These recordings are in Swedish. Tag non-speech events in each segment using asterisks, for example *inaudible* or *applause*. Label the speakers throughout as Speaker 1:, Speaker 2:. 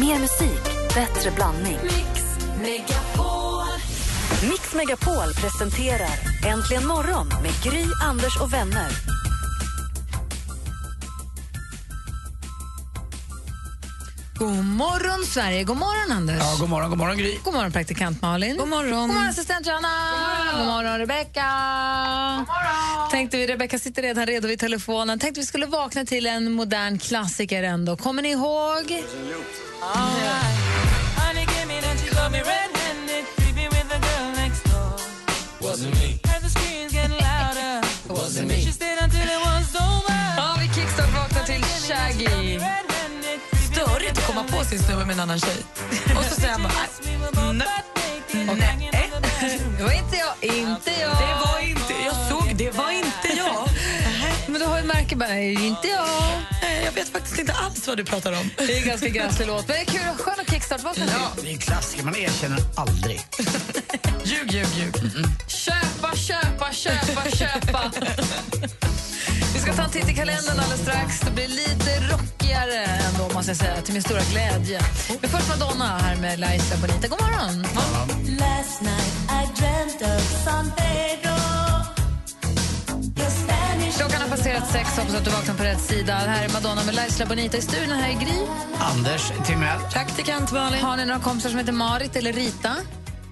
Speaker 1: Mer musik, bättre blandning.
Speaker 2: Mix Megapol.
Speaker 1: Mix Megapol presenterar Äntligen morgon med Gry, Anders och vänner.
Speaker 3: God morgon, Sverige. God morgon, Anders.
Speaker 4: Ja, god morgon, god morgon Gry.
Speaker 3: God morgon, praktikant Malin. God morgon, God morgon assistent Johanna. God morgon, Rebecka. God morgon. Tänkte vi, Rebecka sitter redan redo vid telefonen. Tänkte vi skulle vakna till en modern klassiker ändå. Kommer ni ihåg? Ja, vi kickstart-vaknar till Shaggy.
Speaker 5: Störigt att komma på sin snubbe med en annan tjej. Och så säger han bara... Nej. Nej. *laughs*
Speaker 3: Det var inte jag, inte jag.
Speaker 5: Det var inte... Jag såg, det var inte jag.
Speaker 3: Men du har ju märke bara, "Nej, inte jag.
Speaker 5: Nej, Jag vet faktiskt inte alls vad du pratar om.
Speaker 3: Det är en ganska gräslig låt, men det är kul och skön att kickstart-vakna till.
Speaker 4: Ja, det är en klassiker, man erkänner aldrig.
Speaker 5: Ljug, ljug, ljug.
Speaker 3: Köpa, köpa, köpa,
Speaker 5: *laughs*
Speaker 3: köpa. Vi ska ta en titt i kalendern alldeles strax. Det blir lite rockigare ändå, måste jag säga, till min stora glädje. Men först Madonna här med Laisa Bonita. God morgon!
Speaker 2: Last night I dreamt of San Pedro. Your Spanish
Speaker 3: Klockan har passerat sex, hoppas att du vaknar på rätt sida. Det här är Madonna med Laisa Bonita i studion. Här är Gry.
Speaker 4: Anders Timell.
Speaker 5: Praktikant Malin.
Speaker 3: Har ni några kompisar som heter Marit eller Rita?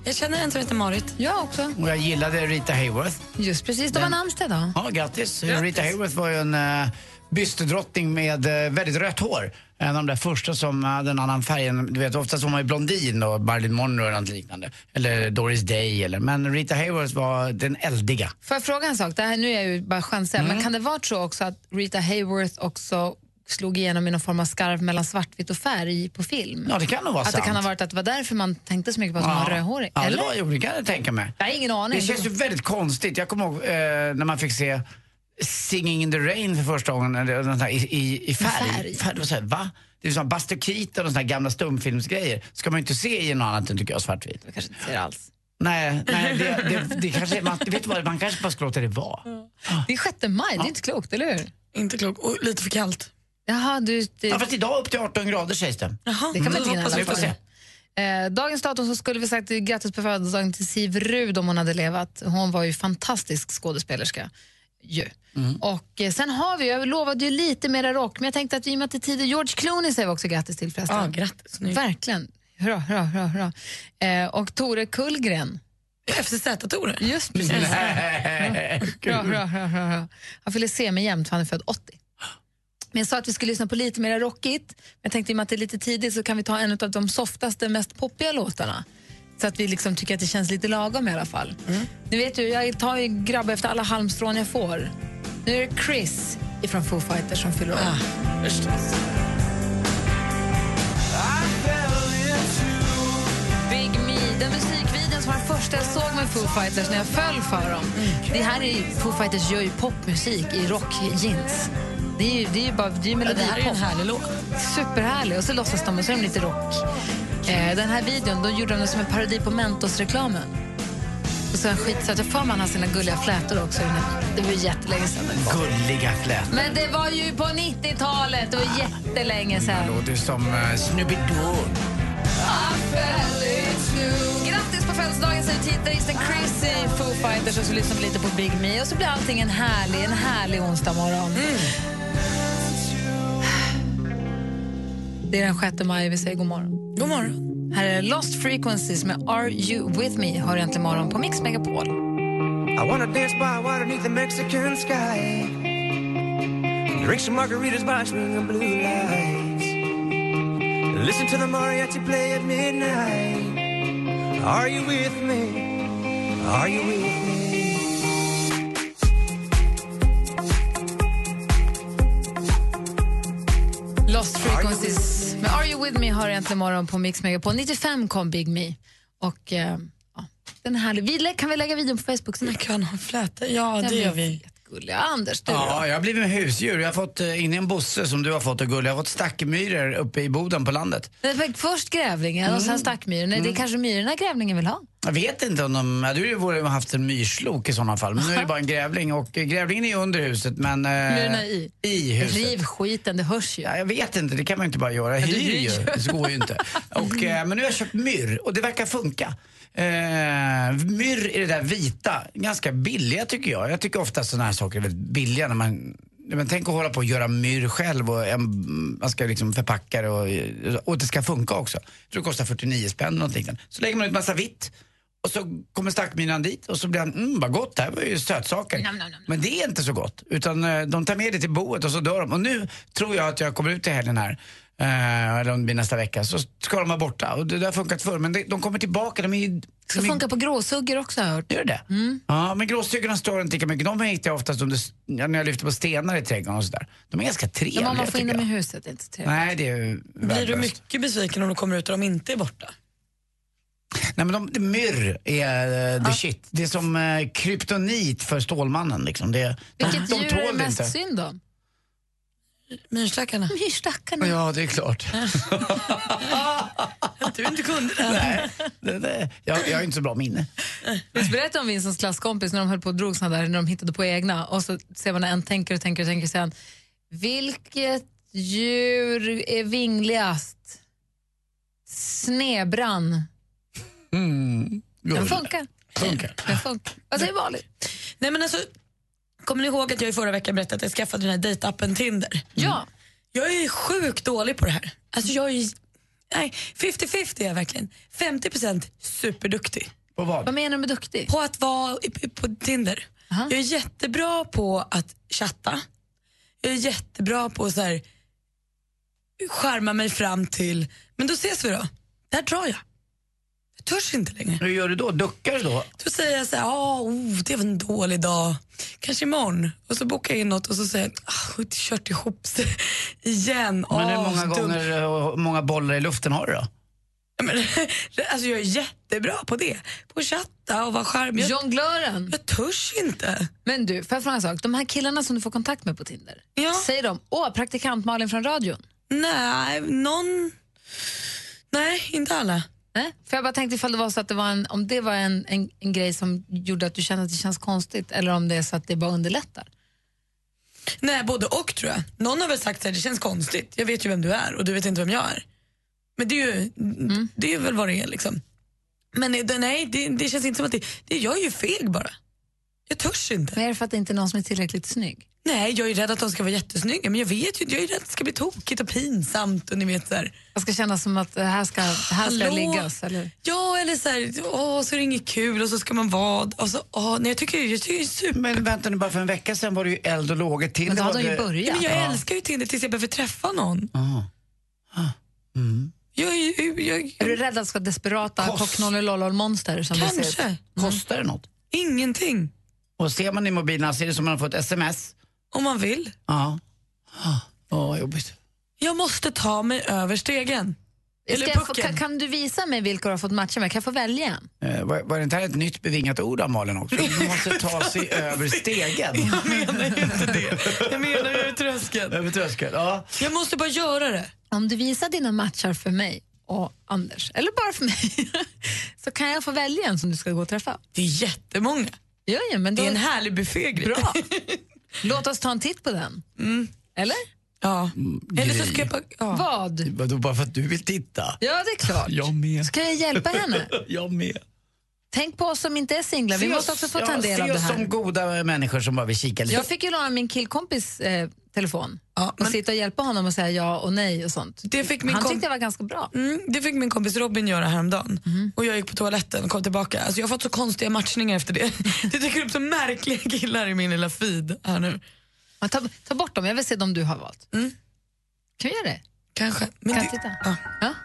Speaker 5: Jag känner en som heter Marit.
Speaker 3: Jag också.
Speaker 4: Och jag gillade Rita Hayworth.
Speaker 3: Just precis, de har namnsdag idag.
Speaker 4: Ja, grattis. Rita Hayworth var ju en uh, bysterdrottning med eh, väldigt rött hår. En av de där första som hade en annan färg. än- Du vet, oftast var man ju blondin och Marilyn Monroe eller något liknande. Eller Doris Day eller... Men Rita Hayworth var den eldiga.
Speaker 3: Får jag fråga en sak? Det här, nu är jag ju bara chansar, men
Speaker 4: Mm.
Speaker 3: kan det vara så också att Rita Hayworth också slog igenom i någon form av skarv mellan svartvitt och färg på film?
Speaker 4: Ja, det kan nog vara
Speaker 3: att det
Speaker 4: sant.
Speaker 3: kan ha varit att det var därför man tänkte så mycket på att man
Speaker 4: Ja.
Speaker 3: var rödhårig?
Speaker 4: Ja, det,
Speaker 3: eller?
Speaker 4: var, jo, det kan jag tänka mig.
Speaker 3: Jag har ingen aning.
Speaker 4: Det känns ju väldigt konstigt. Jag kommer ihåg eh, när man fick se Singing in the rain för första gången eller något sånt här, i, i, i färg.
Speaker 3: färg.
Speaker 4: färg. det var så här, va? Det är ju som Buster Keaton och såna här gamla stumfilmsgrejer. ska man ju inte se i något annat än tycker jag, svartvit.
Speaker 3: Jag kanske inte ser det alls.
Speaker 4: Nej, nej det, det, det kanske, man, vet du vad, man kanske bara ska låta det vara.
Speaker 3: Det är 6 maj, det är inte klokt, eller hur?
Speaker 5: Inte klok. Och lite för kallt.
Speaker 3: Jaha, du, det,
Speaker 4: Ja, fast idag upp till 18 grader sägs *laughs* det.
Speaker 5: Jaha, Mm.
Speaker 3: det kan man
Speaker 5: då
Speaker 3: inte hinna i
Speaker 5: hoppas
Speaker 3: alla
Speaker 4: vi får
Speaker 3: fall. Eh, dagens datum så skulle vi sagt grattis på födelsedagen till Siv Rud om hon hade levat. Hon var ju fantastisk skådespelerska. Ju.
Speaker 5: Mm.
Speaker 3: Och eh, sen har vi, jag lovade ju lite mera rock, men jag tänkte att i och med att det är tider, George Clooney säger vi också grattis till förresten.
Speaker 5: Ja, grattis. Nu.
Speaker 3: Verkligen. Hurra, hurra, hurra. hurra. Eh, och Tore Kullgren.
Speaker 5: FZ-datorer.
Speaker 3: Just precis. Hurra, hurra, hurra, hurra. Han fyller semi jämt för han är född 80. Men jag sa att vi skulle lyssna på lite mer rockigt. Men jag tänkte i och med att det är lite tidigt så kan vi ta en av de softaste, mest poppiga låtarna. Så att vi liksom tycker att det känns lite lagom i alla fall. Ni vet ju, jag tar ju grabb efter alla halmstrån jag får. Nu är det Chris ifrån Foo Fighters som fyller år. Big Me, den musikvideon som var den första jag såg med Foo Fighters när jag föll för dem. Det här är ju, Foo Fighters gör ju popmusik i rockjeans. Det är ju, det är ju bara det är ju
Speaker 5: Det här är ju en
Speaker 3: melodipop.
Speaker 5: härlig låt.
Speaker 3: Superhärlig. Och så låtsas de och så är de lite rock. Eh, den här videon, då gjorde de den som en parodi på Mentos-reklamen. Och så en skitsöt. Jag får man har sina gulliga flätor också. i den här. Det var ju jättelänge sedan. den kom.
Speaker 4: Gulliga flätor.
Speaker 3: Men det var ju på 90-talet. Det var jättelänge
Speaker 4: Det
Speaker 3: sedan.
Speaker 4: låter ju som uh, Snoopy Dogg.
Speaker 3: Grattis på födelsedagen säger titaristen Chris i Foo Fighters och så lyssnar vi lite på Big Me och så blir allting en härlig, en härlig onsdag morgon. Det är den 6 maj, vi säger god morgon.
Speaker 5: God morgon.
Speaker 3: Här är Lost Frequencies med Are You With Me. Hör egentligen morgon på Mix Megapol.
Speaker 6: I wanna dance by water neath the Mexican sky. Drink some margaritas by swing of blue lights. Listen to the mariachi play at midnight. Are you with me? Are you with me?
Speaker 3: Lost Frequencies med Are You With Me hör egentligen morgon på Mix Megapol. 95 kom Big Me. Och, eh, ja, den är härlig. Vi, lä- kan vi lägga videon på Facebook? sen?
Speaker 5: Vi kan ha flätor. Ja, det
Speaker 3: Den
Speaker 5: gör
Speaker 3: är
Speaker 5: vi.
Speaker 3: Jättegulliga. Anders, du då?
Speaker 4: Ja, jag har blivit med husdjur. Jag har fått eh, in i en bosse som du har fått och gull. Jag har fått stackmyror uppe i Boden på landet.
Speaker 3: Men för- Först grävlingen och sen stackmyren. Nej, Det är kanske myrorna grävlingen vill ha.
Speaker 4: Jag vet inte om de... Ja, du borde ha haft en myrslok i sådana fall. Men nu är det bara en grävling och eh, grävlingen är under huset men... eh,
Speaker 3: Myrorna är i.
Speaker 4: I huset.
Speaker 3: Riv skiten, det hörs ju.
Speaker 4: Ja, jag vet inte, det kan man ju inte bara göra. Jag
Speaker 3: du
Speaker 4: hyr
Speaker 3: hyr
Speaker 4: ju,
Speaker 3: ju.
Speaker 4: det går ju inte. Och, eh, men nu har jag köpt myrr och det verkar funka. Eh, myrr är det där vita, ganska billiga tycker jag. Jag tycker ofta sådana här saker är väldigt billiga när man men tänk att hålla på och göra myrr själv och en, man ska liksom förpacka det och, och det ska funka också. Jag tror det kostar 49 spänn eller något liknande. Så lägger man ut massa vitt och så kommer stackmynan dit och så blir han, mm vad gott, det här var ju sötsaker.
Speaker 3: Nam, nam, nam.
Speaker 4: Men det är inte så gott. Utan eh, de tar med det till boet och så dör de. Och nu tror jag att jag kommer ut till helgen här. eh, Eller om det blir nästa vecka. Så ska de vara borta. Och det där har funkat förr. Men det, de kommer tillbaka. De är ju...
Speaker 3: Ska
Speaker 4: de är,
Speaker 3: funka Mm. på gråsuggor också har jag hört.
Speaker 4: Gör det Ja, men gråstyckena stör inte lika mycket. De hittar jag oftast under, s- ja, när jag lyfter på stenar i trädgården och sådär. De är ganska trevliga
Speaker 3: Men om man får in
Speaker 4: tycker
Speaker 3: dem i
Speaker 4: jag.
Speaker 3: huset, det är inte så trevligt.
Speaker 4: Nej, det är ju
Speaker 5: Blir du
Speaker 4: värdelöst.
Speaker 5: mycket besviken om du kommer ut och de inte är borta?
Speaker 4: Nej, men de, de, myrr är eh, the shit. Det är som eh, kryptonit för Stålmannen. Liksom. Det, de,
Speaker 3: Vilket
Speaker 4: de
Speaker 3: djur
Speaker 4: tål
Speaker 3: är
Speaker 4: det
Speaker 3: mest
Speaker 4: inte.
Speaker 3: synd om?
Speaker 5: Myrstackarna.
Speaker 3: Myrstackarna.
Speaker 4: Ja, det är klart.
Speaker 5: Att du inte kunde det.
Speaker 4: Nej, det, det, jag, jag har inte så bra minne.
Speaker 3: Visst berättade om Vincents klasskompis när de höll på och drog såna där, när de hittade på egna och så ser man när en tänker och tänker och tänker sen. Vilket djur är vingligast? Snebrann. Den funkar.
Speaker 4: Funkar.
Speaker 3: Den funkar. Alltså, det är vanligt.
Speaker 5: Nej, men alltså, kommer ni ihåg att jag i förra veckan berättade att jag skaffade den här dejtappen Tinder?
Speaker 3: Ja.
Speaker 5: Jag är sjukt dålig på det här. Alltså jag är... Nej, 50-50 är jag verkligen. 50% superduktig
Speaker 4: På
Speaker 3: Vad
Speaker 4: vad?
Speaker 3: menar du med duktig?
Speaker 5: på att vara i- på Tinder.
Speaker 3: Aha.
Speaker 5: Jag är jättebra på att chatta. Jag är jättebra på att så här, skärma mig fram till, men då ses vi då. Där drar jag. Jag törs inte längre.
Speaker 4: Hur gör du då? Duckar du då?
Speaker 5: Då säger jag så här, "Ah, oh, det var en dålig dag. Kanske imorgon. Och så bokar jag in något och så säger jag, ah, det kört ihop sig igen.
Speaker 4: Men hur
Speaker 5: Ah,
Speaker 4: många
Speaker 5: så dumt."
Speaker 4: gånger eh, och många bollar i luften har du då?
Speaker 5: Ja, men, *laughs* alltså jag är jättebra på det. På att chatta och vara charmig. Jag,
Speaker 3: Jonglören.
Speaker 5: jag törs inte.
Speaker 3: Men du, får jag fråga en sak? De här killarna som du får kontakt med på Tinder,
Speaker 5: Ja.
Speaker 3: säger de åh, praktikant Malin från radion?
Speaker 5: Nej, någon... Nej, inte alla.
Speaker 3: Nej? Äh? För jag bara tänkte ifall det var så att det var en, om det var en, en, en grej som gjorde att du kände att det känns konstigt eller om det är så att det bara underlättar.
Speaker 5: Nej, både och tror jag. Någon har väl sagt att det känns konstigt. Jag vet ju vem du är och du vet inte vem jag är. Men det är ju det är väl vad det är liksom. Men nej, det- nej, det, det känns inte som att det, det jag är ju feg bara. Jag törs inte.
Speaker 3: Men är det för att det inte är någon som är tillräckligt snygg?
Speaker 5: Nej, jag är rädd att de ska vara jättesnygga men jag vet ju, jag är rädd att det ska bli tokigt och pinsamt och ni vet så här.
Speaker 3: Jag ska känna som att eh, här ska, här ska
Speaker 5: Hallå?
Speaker 3: liggas. Eller?
Speaker 5: Ja, eller så här, åh, så är det inget kul och så ska man vara, och så, åh, nej jag tycker, jag tycker det är super
Speaker 4: Men vänta nu, bara för en vecka sedan var det ju eld och lågor till.
Speaker 3: Men då
Speaker 4: Det
Speaker 3: har
Speaker 4: var
Speaker 3: de ju
Speaker 4: det-
Speaker 5: Ja,
Speaker 3: börjat.
Speaker 5: Ah. men jag älskar ju Tinder tills jag behöver träffa någon.
Speaker 4: Ja.
Speaker 5: Jag, är ju- jag,
Speaker 3: Är du rädd att det ska vara desperata
Speaker 4: Kost.
Speaker 3: kocknollelololmonster som vi ser?
Speaker 5: kanske.
Speaker 4: Kostar det något?
Speaker 5: Ingenting.
Speaker 4: Och ser man i mobilerna så är det som man har fått sms.
Speaker 5: Om man vill.
Speaker 4: Ja. Ja, Ja, vad jobbigt.
Speaker 5: Jag måste ta mig över stegen. Eller
Speaker 3: Ska jag få,
Speaker 5: pucken.
Speaker 3: kan, kan du visa mig vilka du har fått matcha med? Kan jag få välja en?
Speaker 4: Eh, var, var det inte här ett nytt bevingat ord av Malin också? Man måste ta sig över stegen.
Speaker 5: Jag menar ju inte det.
Speaker 4: *laughs*
Speaker 5: Jag menar ju över tröskeln.
Speaker 4: Över tröskeln, ja.
Speaker 5: Jag måste bara göra det.
Speaker 3: Om du visar dina matchar för mig och Anders, eller bara för mig, *laughs* så kan jag få välja en som du ska gå och träffa.
Speaker 5: Det är jättemånga.
Speaker 3: Ja, ja, men då,
Speaker 5: Det är
Speaker 3: *laughs*
Speaker 5: en härlig buffégrej.
Speaker 3: Bra. Låt oss ta en titt på den. Eller?
Speaker 5: Ja. Eller så ska jag bara... Mm. Ja.
Speaker 3: Vad?
Speaker 4: Vadå, bara för att du vill titta?
Speaker 3: Ja, det är klart.
Speaker 4: Jag med.
Speaker 3: Ska jag hjälpa henne?
Speaker 4: *laughs* Jag med.
Speaker 3: Tänk på oss som inte är singlar. Vi
Speaker 4: Se
Speaker 3: måste
Speaker 4: oss-
Speaker 3: också få ta en del
Speaker 4: se
Speaker 3: av det
Speaker 4: oss som
Speaker 3: här.
Speaker 4: goda människor som bara vill kika lite.
Speaker 3: Jag fick ju låna min killkompis eh, telefon
Speaker 5: Ja,
Speaker 3: och
Speaker 5: men
Speaker 3: sitta och hjälpa honom och säga ja och nej och sånt.
Speaker 5: det, fick min
Speaker 3: Han
Speaker 5: kom...
Speaker 3: tyckte jag var ganska bra.
Speaker 5: mm, det fick min kompis Robin göra häromdagen.
Speaker 3: Mhm.
Speaker 5: Och jag gick på toaletten och kom tillbaka. Alltså jag har fått så konstiga matchningar efter
Speaker 3: *laughs*
Speaker 5: det. Det dyker upp så märkliga killar i min lilla feed här nu.
Speaker 3: Men ta, ta bort dem, jag vill se dem du har valt. Kan vi göra det?
Speaker 5: Kanske. Men
Speaker 3: Kan
Speaker 5: det-
Speaker 3: jag titta?
Speaker 5: Ja.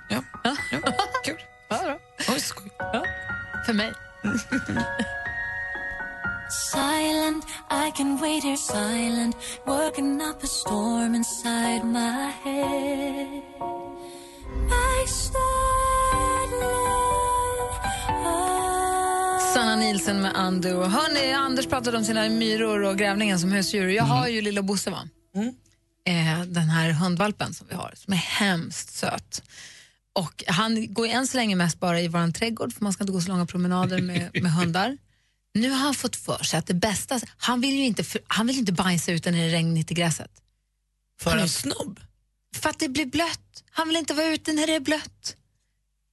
Speaker 3: Ja,
Speaker 5: Ja. ja. Kul.
Speaker 3: ja då.
Speaker 5: Oj, skoj.
Speaker 3: För mig.
Speaker 2: Silent, I can wait here silent, working up a storm inside my head. My starlight.
Speaker 3: Sanna Nielsen med Ando. Hörrni, Anders pratade om sina myror och grävlingen som husdjur. Jag har ju lilla Bosse, va? Eh, den här hundvalpen som vi har, som är hemskt söt. Och han går ju än så länge mest bara i vår trädgård för man ska inte gå så långa promenader med, med hundar. Nu har han fått för sig att det bästa, han vill ju inte, för, han vill inte bajsa ut den i regnigt i gräset.
Speaker 5: För en snobb.
Speaker 3: För att det blir blött. Han vill inte vara ute när det är blött.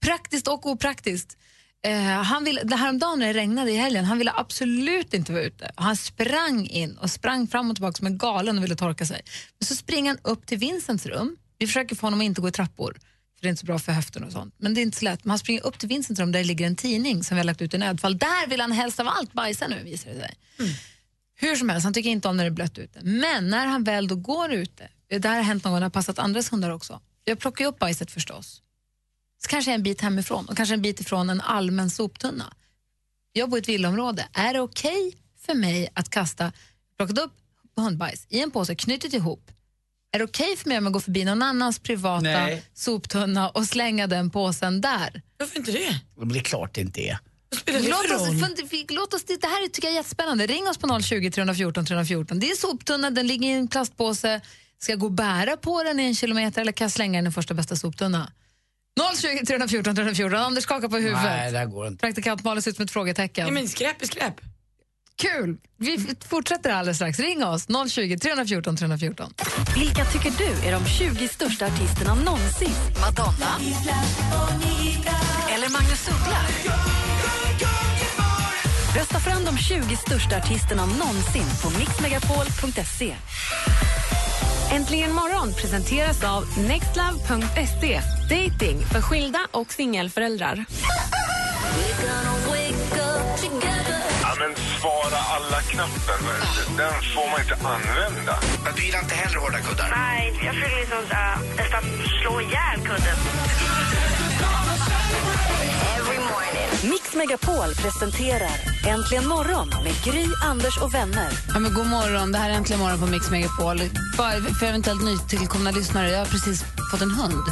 Speaker 3: Praktiskt och opraktiskt. Eh, han vill, det häromdagen när det regnade i helgen, han ville absolut inte vara ute. Han sprang in och sprang fram och tillbaka som en galen och ville torka sig. Men så springer han upp till Vincents rum. Vi försöker få honom att inte gå i trappor, för det är inte så bra för höften och sånt. Men det är inte så lätt. Men han springer upp till Vincents rum där det ligger en tidning som vi har lagt ut i nödfall. Där vill han helst av allt bajsa nu visar det sig. Hur som helst, han tycker inte om när det är blött ute. Men när han väl då går ute, eh, det här har hänt någon gång, det har passat andras hundar också. Jag plockar ju upp bajset förstås. Så kanske en bit hemifrån och kanske en bit ifrån en allmän soptunna. Jag bor i ett villaområde. Är det okej för mig att kasta, plockat upp hundbajs i en påse, knutit ihop. Är det okej för mig om jag går förbi någon annans privata
Speaker 4: Nej.
Speaker 3: soptunna och slänga den påsen där?
Speaker 5: Varför inte det?
Speaker 4: Men det är klart det inte är.
Speaker 5: Vad spelar det
Speaker 3: Låt
Speaker 5: för
Speaker 3: oss,
Speaker 5: roll?
Speaker 3: fund- vi- låt oss, det här tycker jag är jättespännande. Ring oss på 020 314 314. Det är soptunna, den ligger i en plastpåse. Ska jag gå och bära på den i en kilometer eller kan jag slänga den i första bästa soptunna? 020 314 314. Anders skakar på huvudet.
Speaker 4: Nej, det här går inte.
Speaker 3: Praktikant Malin ser ut som ett frågetecken.
Speaker 5: Ja, men skräp är skräp.
Speaker 3: Kul! Vi f- fortsätter alldeles strax. Ring oss, 020 314 314.
Speaker 1: Vilka tycker du är de 20 största artisterna någonsin? Madonna? Eller Magnus Uggla? Rösta fram de 20 största artisterna någonsin på mixmegapol.se.
Speaker 7: Äntligen morgon presenteras av nextlove.se. Dating för skilda och singelföräldrar.
Speaker 8: Ja, men svara alla-knappen, den får man inte använda.
Speaker 4: Du gillar inte heller hårda kuddar?
Speaker 9: Nej, jag försöker liksom äh, nästan slå ihjäl kudden.
Speaker 1: Mix Megapol presenterar Äntligen morgon med Gry, Anders och vänner.
Speaker 3: Ja, men god morgon, det här är Äntligen morgon på Mix Megapol. Bara för eventuellt nytillkomna lyssnare, jag har precis fått en hund.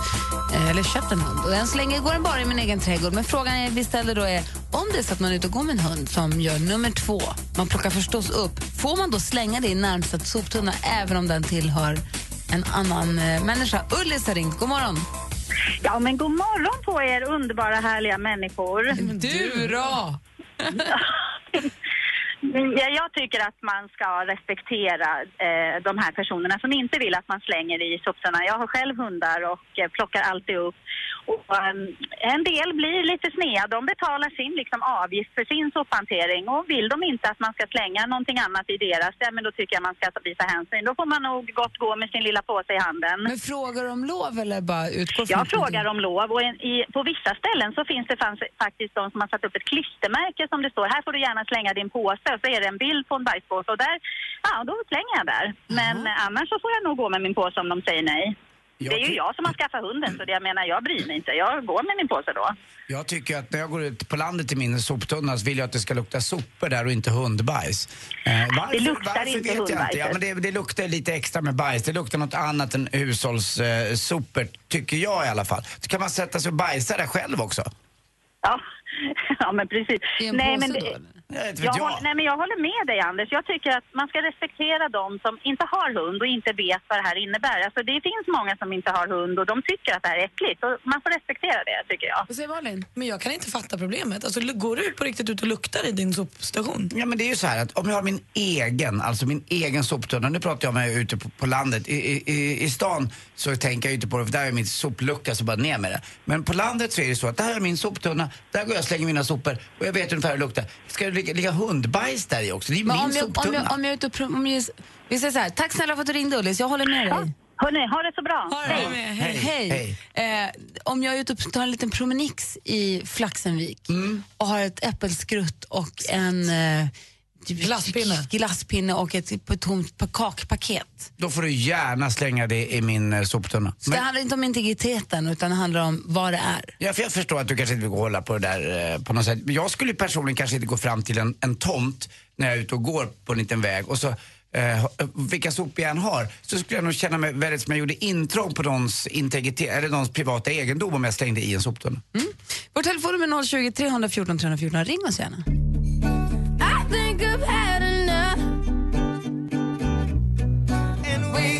Speaker 3: Eh, Eller köpt en hund. Och än så länge går den bara i min egen trädgård. Men frågan vi ställer då är, om det är så att man är ute och går med en hund som gör nummer två, man plockar förstås upp, får man då slänga det i närmsta soptunna även om den tillhör en annan eh, människa? Ullis har ringt, god morgon.
Speaker 9: Ja, men god morgon på er underbara härliga människor.
Speaker 3: Du då?
Speaker 9: Mm, Ja, Jag tycker att man ska respektera eh, de här personerna som inte vill att man slänger i soptunnan. Jag har själv hundar och eh, plockar alltid upp. Och, eh, en del blir lite snea. De betalar sin liksom, avgift för sin sophantering och vill de inte att man ska slänga någonting annat i deras, ja, men då tycker jag man ska visa hänsyn. Då får man nog gott gå med sin lilla påse i handen.
Speaker 3: Men frågar om lov eller bara utgår
Speaker 9: Jag frågar om lov och en- i, på vissa ställen så finns det fanns, faktiskt de som har satt upp ett klistermärke som det står här får du gärna slänga din påse och så är det en bild på en bajspåse och där, ja då slänger jag där. Men eh, annars så får jag nog gå med min påse om de säger nej. det är ju jag som har skaffat hunden så det jag menar jag bryr mig inte. Jag går med min påse då.
Speaker 4: Jag tycker att när jag går ut på landet till min soptunna så vill jag att det ska lukta sopor där och inte hundbajs. Eh, varför,
Speaker 9: Det luktar
Speaker 4: varför
Speaker 9: inte
Speaker 4: vet jag inte.
Speaker 9: hundbajset.
Speaker 4: Ja, men det, det luktar lite extra med bajs. Det luktar något annat än hushållssopor, eh, sopor, tycker jag i alla fall. Så kan man sätta sig och bajsa där själv också.
Speaker 9: Ja, *laughs* ja men precis.
Speaker 3: I en påse
Speaker 9: men
Speaker 3: då,
Speaker 9: det,
Speaker 3: eller?
Speaker 4: Jag vet, vet
Speaker 9: jag
Speaker 4: jag.
Speaker 9: håller, nej men jag håller med dig Anders. Jag tycker att man ska respektera de som inte har hund och inte vet vad det här innebär. Alltså det finns många som inte har hund och de tycker att det här är äckligt. Och man får respektera det tycker jag.
Speaker 5: Vad säger Malin? Men jag kan inte fatta problemet. Alltså, lu- går du på riktigt ut och luktar i din sopstation?
Speaker 4: Ja men det är ju så här att om jag har min egen, alltså min egen soptunna, nu pratar jag om jag är ute på, på landet, I, i- i, i stan så tänker jag inte på det för där är min soplucka så bara ner med det. Men på landet så är det så att där är min soptunna, där går jag och slänger mina sopor och jag vet ungefär hur det luktar. Ska det ligga, ligga hundbajs där i också? Det är ju min
Speaker 3: Men om jag, om
Speaker 4: soptunna.
Speaker 3: jag, om jag är ute och... prom- Om jag, vi säger så här, tack snälla för att du ringde Ullis, jag håller med dig.
Speaker 9: Hörni, ha det så bra.
Speaker 5: Hej. Hej.
Speaker 4: Hej.
Speaker 3: Hej. Eh, om jag är ute och tar en liten promenix i Flaxenvik
Speaker 4: Mm.
Speaker 3: och har ett äppelskrutt och en eh, typ-
Speaker 5: Glasspinne.
Speaker 3: glasspinne och ett på ett tomt pa- kakpaket.
Speaker 4: Då får du gärna slänga det i min eh, soptunna.
Speaker 3: Så det handlar inte om integriteten utan det handlar om vad det är.
Speaker 4: Ja, för jag förstår att du kanske inte vill gå och hålla på det där eh, på något sätt. Men jag skulle ju personligen kanske inte gå fram till en, en tomt när jag är ute och går på en liten väg och så eh, vilka sopor jag än har så skulle jag nog känna mig väldigt som jag gjorde intrång på någons integritet eller någons privata egendom om jag slängde i en soptunna.
Speaker 3: Vårt telefonnummer är 020 314 314. Ring oss gärna.
Speaker 10: We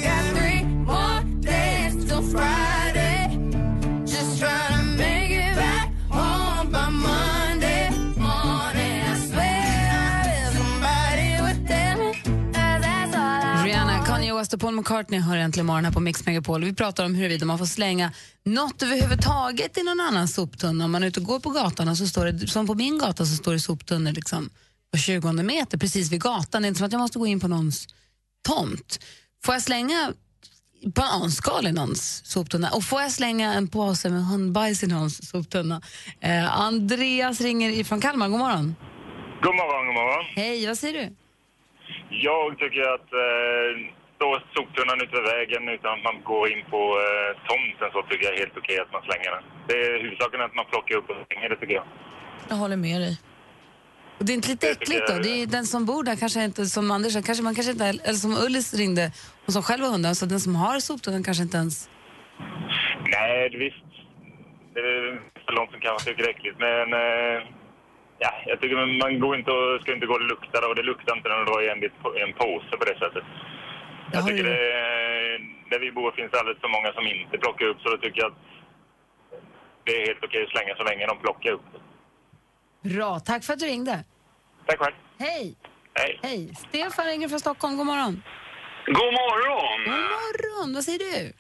Speaker 10: got three more days till Friday. Just try to
Speaker 3: lyssnar på Paul McCartney och hör Äntligen morgon här på Mix Megapol. Vi pratar om huruvida man får slänga något överhuvudtaget i någon annans soptunna. Om man är ute och går på gatan, och så står det, som på min gata, så står det soptunnor liksom på 20 meter precis vid gatan. Det är inte som att jag måste gå in på någons tomt. Får jag slänga bananskal i någons soptunna? Och får jag slänga en påse med hundbajs i någons soptunna? Eh, Andreas ringer ifrån Kalmar. God morgon.
Speaker 11: God morgon, god morgon.
Speaker 3: Hej, vad säger du?
Speaker 11: Jag tycker att eh, då soptunnan ute vid vägen utan att man går in på eh, tomten så tycker jag är helt okej att man slänger den. Det är huvudsaken att man plockar upp och slänger det tycker jag.
Speaker 5: Jag håller med dig.
Speaker 3: Och det är inte lite äckligt då? Det är ju den som bor där, kanske inte, som Anders, kanske man kanske inte, eller som Ullis ringde, och som själv har hundar, så den som har soptunnan kanske inte ens...
Speaker 11: Nej, det visst. Det är för någon som kanske tycker det är äckligt men eh, ja, jag tycker man- man går inte och, ska inte gå och lukta och det luktar inte när du drar i en, bit på- en påse på det sättet. Jag tycker det, eh, där vi bor finns det alldeles för många som inte plockar upp så då tycker jag att det är helt okej att slänga så länge de plockar upp.
Speaker 3: Bra, tack för att du ringde.
Speaker 11: Tack själv.
Speaker 3: Hej!
Speaker 11: Hej.
Speaker 3: Hej! Stefan ringer från Stockholm, god morgon.
Speaker 12: God morgon!
Speaker 3: God morgon, vad säger du?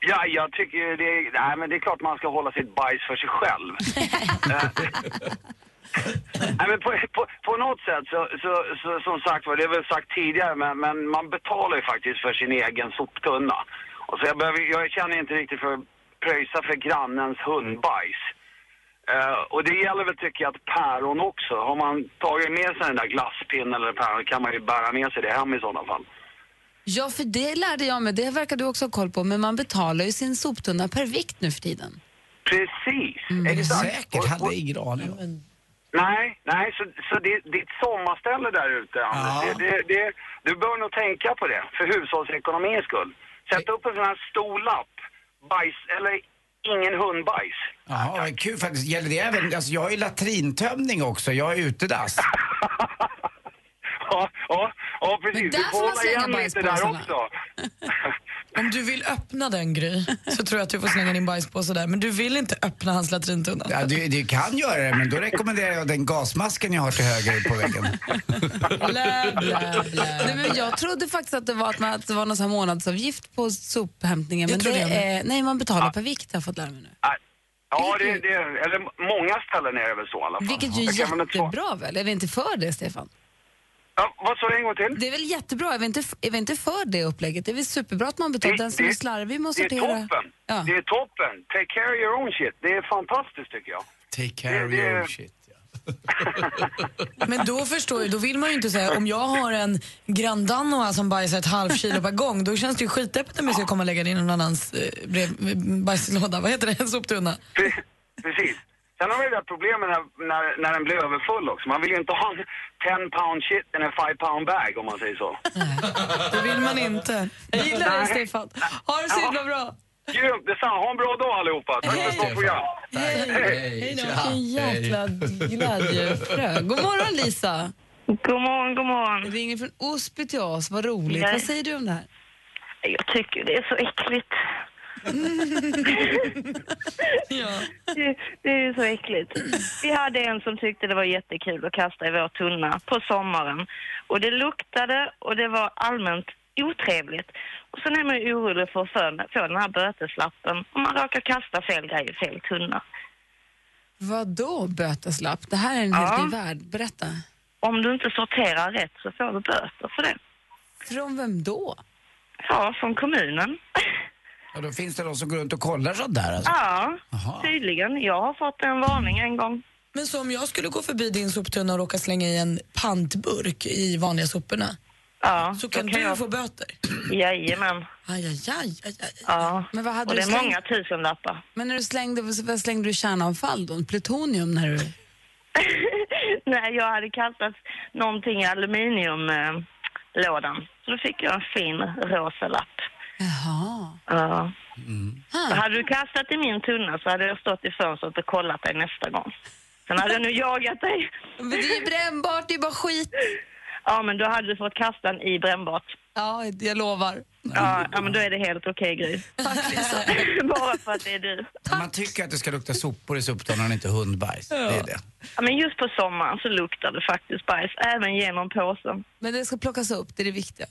Speaker 12: Ja, jag tycker ju det, är- nej, men det är klart man ska hålla sitt bajs för sig själv. Eh, nej, men på, på, på något sätt så, så, så som sagt var, det är väl sagt tidigare, men, men man betalar ju faktiskt för sin egen soptunna. Och så Alltså, jag, behöver, jag känner inte riktigt för att pröjsa för grannens hundbajs. Eh, och det gäller väl tycker jag att päron också. Har man tagit med sig den där glasspinnen eller päron kan man ju bära med sig det hem i sådana fall.
Speaker 3: Ja, för det lärde jag mig, det verkar du också ha koll på, men man betalar ju sin soptunna per vikt nu för tiden.
Speaker 12: Precis, exakt.
Speaker 4: Säkert, hade ingen aning om.
Speaker 12: Nej, nej, så, så det, ditt sommarställe där ute, Anders, det, det, det, du bör nog tänka på det för hushållsekonomins skull. Sätt upp en sån här stor lapp, bajs, eller ingen hundbajs.
Speaker 4: Jaha, vad kul faktiskt. Gäller det även, alltså jag har ju latrintömning också, jag är utedass.
Speaker 12: *laughs* ja, ja, ja, precis.
Speaker 5: Men
Speaker 12: Du
Speaker 5: där får
Speaker 12: får
Speaker 5: man
Speaker 12: hålla
Speaker 5: slänga
Speaker 12: igen lite där
Speaker 3: *laughs*
Speaker 5: bajspåsarna.
Speaker 12: också.
Speaker 5: Om du vill öppna den Gry, så tror jag att du får slänga din bajspåse där. Men du vill inte öppna hans latrintunna.
Speaker 4: Ja, du, du kan göra det, men då rekommenderar jag den gasmasken jag har till höger på väggen.
Speaker 3: Nej, men jag trodde faktiskt att det var, att man, att det var någon sån här månadsavgift på sophämtningen.
Speaker 12: Det
Speaker 3: Men det,
Speaker 12: trodde jag med.
Speaker 3: är, nej, man betalar per vikt har jag fått lära mig nu.
Speaker 12: Ja, det, det, eller många ställen är det väl så i alla fall.
Speaker 3: Vilket ju
Speaker 12: Jag
Speaker 3: är
Speaker 12: kan väl inte svara-
Speaker 3: jättebra väl? Är vi inte för det, Stefan?
Speaker 12: Ja, vad sa du en gång till?
Speaker 3: Det är väl jättebra? Är vi inte, är vi inte för det upplägget? Det är väl superbra att man betalar? Den som är slarvig måste
Speaker 12: det är
Speaker 3: sortera.
Speaker 12: toppen. Det är toppen. Take care of your own shit. Det är fantastiskt tycker jag.
Speaker 4: Take
Speaker 12: care of your own
Speaker 4: shit.
Speaker 5: Men då förstår jag, då vill man ju inte säga om jag har en grandanoa som bajsar ett halvt kilo per gång, då känns det ju skitäppigt om jag ska komma och lägga det i någon annans eh, brev, bajslåda, vad heter det, en soptunna.
Speaker 3: *laughs*
Speaker 12: Pre- Precis. Sen har vi det där problemet när, när, när den blir överfull också. Man vill ju inte ha en 10 pound shit in en 5 pound bag om man säger så.
Speaker 3: *laughs*
Speaker 5: Det vill man inte. Jag gillar det Stefan. Ha det så himla bra.
Speaker 12: Grymt, detsamma. Ha en bra dag allihopa. Tack för ett bra program.
Speaker 3: Hej då. Vilken jäkla glädjefrö. God morgon, Lisa.
Speaker 13: God morgon, god morgon.
Speaker 3: Du ringer från Osby till oss. Vad roligt.
Speaker 13: Nej.
Speaker 3: Vad säger du om det här?
Speaker 13: Jag tycker det är så
Speaker 5: *laughs*
Speaker 13: äckligt. det, det är ju så äckligt. Vi hade en som tyckte det var jättekul att kasta i vår tunna på sommaren. Och det luktade och det var allmänt otrevligt. Och sen är man ju orolig för att få- få den här böteslappen om man råkar kasta fel grej i fel tunna.
Speaker 3: Vadå böteslapp? Det här är en helt ny värld. Berätta.
Speaker 13: Om du inte sorterar rätt så får du böter för det.
Speaker 3: Från vem då?
Speaker 13: Ja, från kommunen. *laughs*
Speaker 4: Ja, då finns det de som går runt och kollar sånt där alltså.
Speaker 13: Ja, tydligen. Jag har fått en varning en gång.
Speaker 5: Men så om jag skulle gå förbi din soptunna och råka slänga i en pantburk i vanliga soporna,
Speaker 13: Ja,
Speaker 5: så kan,
Speaker 13: då kan
Speaker 5: du
Speaker 13: jag-
Speaker 5: få böter.
Speaker 13: Jajamän.
Speaker 5: Aj, aj, aj, aj, aj.
Speaker 13: Ja,
Speaker 3: Men vad hade
Speaker 13: och
Speaker 3: du
Speaker 13: det är
Speaker 3: slängt?
Speaker 13: många tusenlappar. *laughs*
Speaker 3: Men när du slängde, vad slängde du kärnavfall då? Plutonium? När du...
Speaker 13: Nej, jag hade kastat någonting i aluminiumlådan. Så då fick jag en fin rosa lapp.
Speaker 3: Jaha.
Speaker 13: Ja.
Speaker 3: Mm.
Speaker 13: Så hade du kastat i min tunna så hade jag stått i fönstret och kollat dig nästa gång. Sen hade jag nu jagat dig.
Speaker 3: Men det är ju brännbart, det är bara skit.
Speaker 13: Ja, men då hade du fått kasta den i brännbart.
Speaker 3: Ja, jag lovar.
Speaker 13: Ja, ja men då är det helt okej Gry.
Speaker 3: Tack Lisa.
Speaker 13: *laughs* Bara för att det är du.
Speaker 4: Man tycker att det ska lukta sopor i soptunnan, inte hundbajs. Det är det.
Speaker 13: Ja, men just på sommaren så luktar det faktiskt bajs, även genom påsen.
Speaker 3: Men det ska plockas upp, det är det viktiga.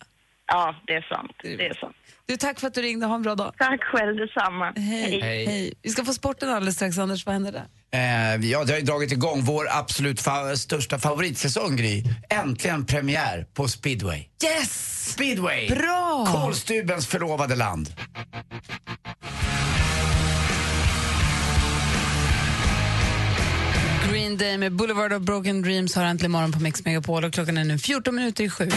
Speaker 13: Ja, det är sant. Det är sant.
Speaker 10: Du, tack för att du ringde. Ha en bra dag.
Speaker 13: Tack själv, detsamma.
Speaker 10: Hej.
Speaker 4: Hej.
Speaker 10: Hej. Vi ska få sporten alldeles strax, Anders. Vad händer där?
Speaker 4: Eh, vi- ja, det har ju dragit igång vår absolut fa- största favoritsäsong, Gry. Äntligen premiär på speedway.
Speaker 10: Yes!
Speaker 4: Speedway!
Speaker 10: Bra!
Speaker 4: Kolstubens förlovade land.
Speaker 10: Green Day med Boulevard of Broken Dreams har äntligen morgon på Mix Megapol och klockan är nu 14 minuter i sju.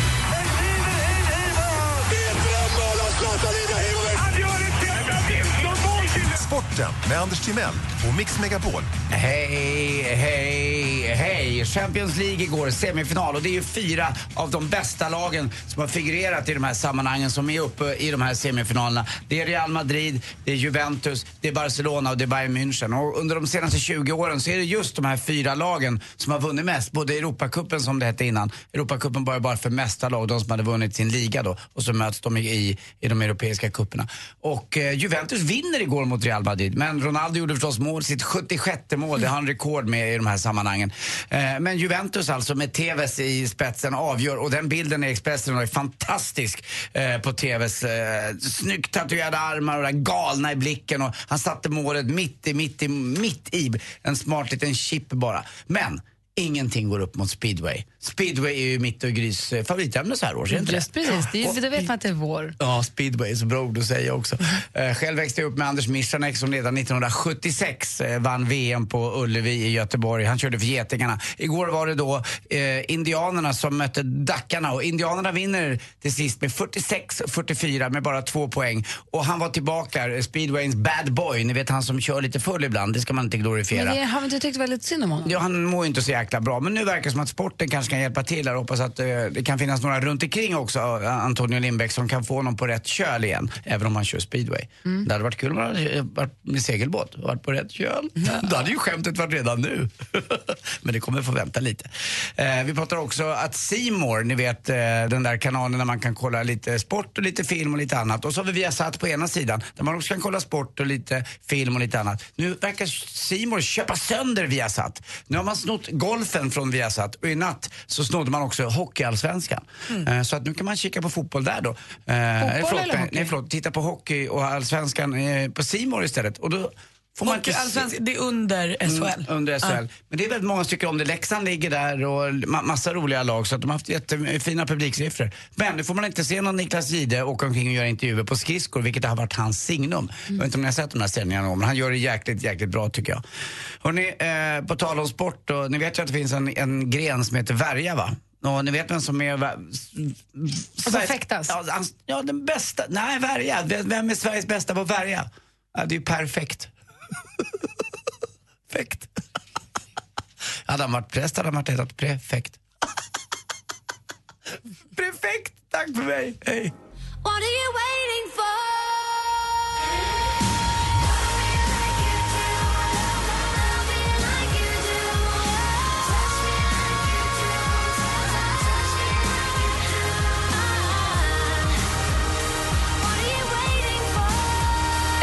Speaker 14: Sporten med Anders Timell och Mix Megapol.
Speaker 4: Hej, hej, hej! Champions League igår, semifinal. Och det är ju fyra av de bästa lagen som har figurerat i de här sammanhangen som är uppe i de här semifinalerna. Det är Real Madrid, det är Juventus, det är Barcelona och det är Bayern München. Och under de senaste 20 åren så är det just de här fyra lagen som har vunnit mest. Både Europacupen som det hette innan. Europacupen var ju bara för mästarlag, de som hade vunnit sin liga då. Och så möts de i, i, i de europeiska cuperna. Och eh, Juventus vinner igår mot Real Madrid. Men Ronaldo gjorde förstås mål, sitt 76 mål. Det har han rekord med i de här sammanhangen. Eh, men Juventus alltså med Tevez i spetsen avgör. Och den bilden i Expressen var ju fantastisk eh, på Tevez. Eh, snyggt tatuerade armar och den galna i blicken. Och han satte målet mitt i, mitt i, mitt i. En smart liten chip bara. Men Ingenting går upp mot speedway. Speedway är ju mitt och Grys eh, favoritämne så här års, är det inte
Speaker 10: Just precis, det,
Speaker 4: Och-
Speaker 10: är- då vet man att det är vår.
Speaker 4: Ja, speedway är så bra ord att säga också. Eh, själv växte jag upp med Anders Michanek som redan 1976 eh, vann VM på Ullevi i Göteborg. Han körde för Getingarna. Igår var det då eh, Indianerna som mötte Dackarna och Indianerna vinner till sist med 46-44 med bara två poäng. Och han var tillbaka, eh, speedwayns bad boy. Ni vet han som kör lite full ibland, det ska man inte glorifiera.
Speaker 10: Men det har vi inte tyckt väldigt synd om honom?
Speaker 4: Ja, han mår ju inte så jäkla bra. Men nu verkar det som att sporten kanske kan hjälpa till. Jag hoppas att eh, det kan finnas några runt omkring också, eh, Antonio Lindbäck, som kan få honom på rätt köl igen. Även om han kör speedway.
Speaker 10: Mm.
Speaker 4: Det hade varit kul om han hade eh, varit med segelbåt och varit på rätt köl. *laughs* Då hade ju skämtet varit redan nu. *laughs* Men det kommer få vänta lite. Eh, vi pratar också att Simor, ni vet eh, den där kanalen där man kan kolla lite sport och lite film och lite annat. Och så har vi Viasat på ena sidan där man också kan kolla sport och lite film och lite annat. Nu verkar Simor köpa sönder Viasat. Nu har man snott golfen från Viasat och i natt så snodde man också hockeyallsvenskan. Eh, så att nu kan man kika på fotboll där då. Eh, förlåt,
Speaker 5: Mm. eller
Speaker 4: eh,
Speaker 5: hockey?
Speaker 4: Nej, förlåt. Titta på hockey och allsvenskan eh, på Simor istället. Och då får man inte se-
Speaker 5: Allsvenskan, det är under SHL.
Speaker 4: Mm, under SHL.
Speaker 5: Ja.
Speaker 4: Men det är väldigt många som tycker om det. Leksand ligger där och ma- massa roliga lag så att de har haft jättefina publiksiffror. Men nu får man inte se någon Niklas Jihde åka omkring och göra intervjuer på skridskor, vilket har varit hans signum. Jag vet inte om ni har sett de här sändningarna någon gång, men han gör det jäkligt, jäkligt bra tycker jag. Hörrni, eh, på tal om sport, och, ni vet ju att det finns en, en gren som heter värja va? Och ni vet vem som är... va- s- s-
Speaker 3: som
Speaker 4: Sveriges-
Speaker 3: fäktas?
Speaker 4: Ja, han- ja, den bästa. Nej, värja. Vem- Vem är Sveriges bästa på värja? Ja, det är ju perfekt. *laughs* Hade han varit präst hade han varit hetat prefekt. Prefekt! Tack för mig! Hej!
Speaker 2: What are you waiting for?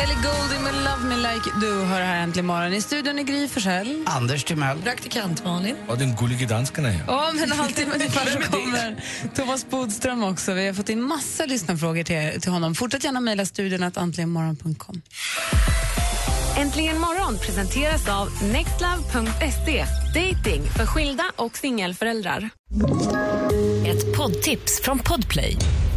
Speaker 10: Ellie Goulding med Love Me Like Du hör här äntligen morgon. I studion är Gry Forssell.
Speaker 4: Anders Timell.
Speaker 10: Praktikant Malin.
Speaker 15: Och den gullige dansken er är här.
Speaker 10: Om en halvtimme ungefär så kommer Thomas Bodström också. Vi har fått in massa lyssnarfrågor till, till honom. Fortsätt gärna mejla studion att antligenmorgon.com.
Speaker 7: Äntligen morgon presenteras av nextlove.se. Dating för skilda och singelföräldrar.
Speaker 1: Ett poddtips från Podplay.